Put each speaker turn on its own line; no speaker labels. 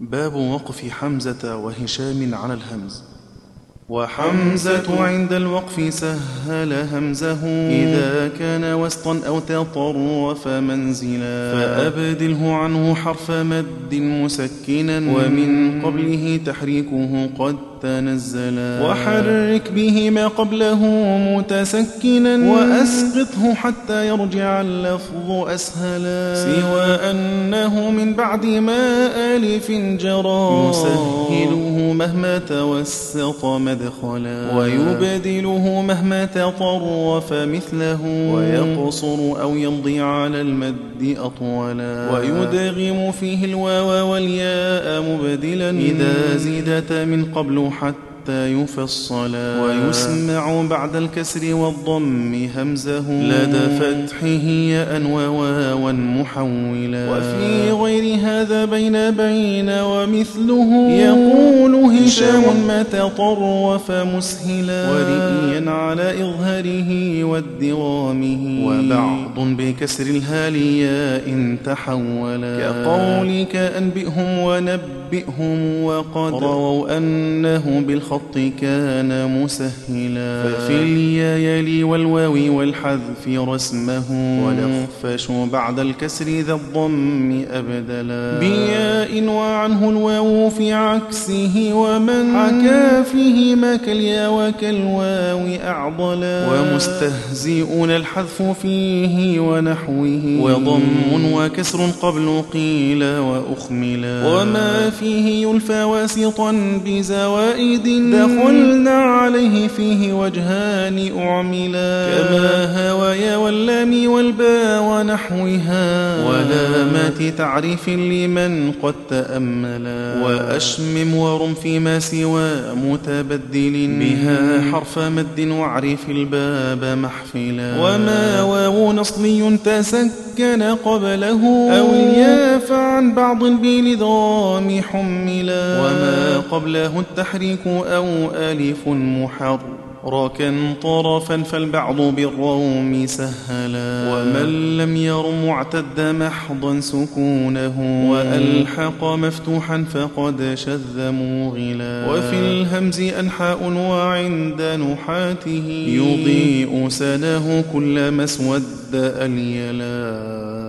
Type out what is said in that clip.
باب وقف حمزة وهشام على الهمز وحمزة عند الوقف سهل همزه إذا كان وسطا أو تطرف منزلا فأبدله عنه حرف مد مسكنا ومن قبله تحريكه قد تنزلا وحرك به ما قبله متسكنا وأسقطه حتى يرجع اللفظ أسهلا سوى أنه من بعد ما ألف جرى يسهله مهما توسط مدخلا ويبدله مهما تطرف مثله ويقصر أو يمضي على المد أطولا ويدغم فيه الواو والياء مبدلا إذا زيدتا من قبل حتى حتى يفصلا ويسمع بعد الكسر والضم همزه لدى فتحه ياء وواوا محولا وفي غير هذا بين بين ومثله يقول هشام ما تطرف مسهلا ورئيا على إظهاره وادغامه وبعض بكسر الهالياء تحولا كقولك أنبئهم ونبئهم وقد رووا أنه بالخ الخط كان مسهلا ففي اليا يلي والواو والحذف رسمه ونخفش بعد الكسر ذا الضم أبدلا بياء وعنه الواو في عكسه ومن حكى فيهما كاليا وكالواو أعضلا ومستهزئون الحذف فيه ونحوه وضم وكسر قبل قيل وأخملا وما فيه يلفى واسطا بزوائد دخلنا عليه فيه وجهان أعملا كما هوايا واللام والبا ونحوها ولامات تعريف لمن قد تأملا وأشمم ورم فيما سوى متبدل بها حرف مد واعرف الباب محفلا وما واو نصلي تسكن قبله أو الياء فعن بعض بالإدغام حملا وما قبله التحريك أو ألف محرم راكا طرفا فالبعض بالروم سهلا ومن لم يرم اعتد محضا سكونه وألحق مفتوحا فقد شذ موغلا وفي الهمز أنحاء وعند نحاته يضيء سناه كلما اسود أليلا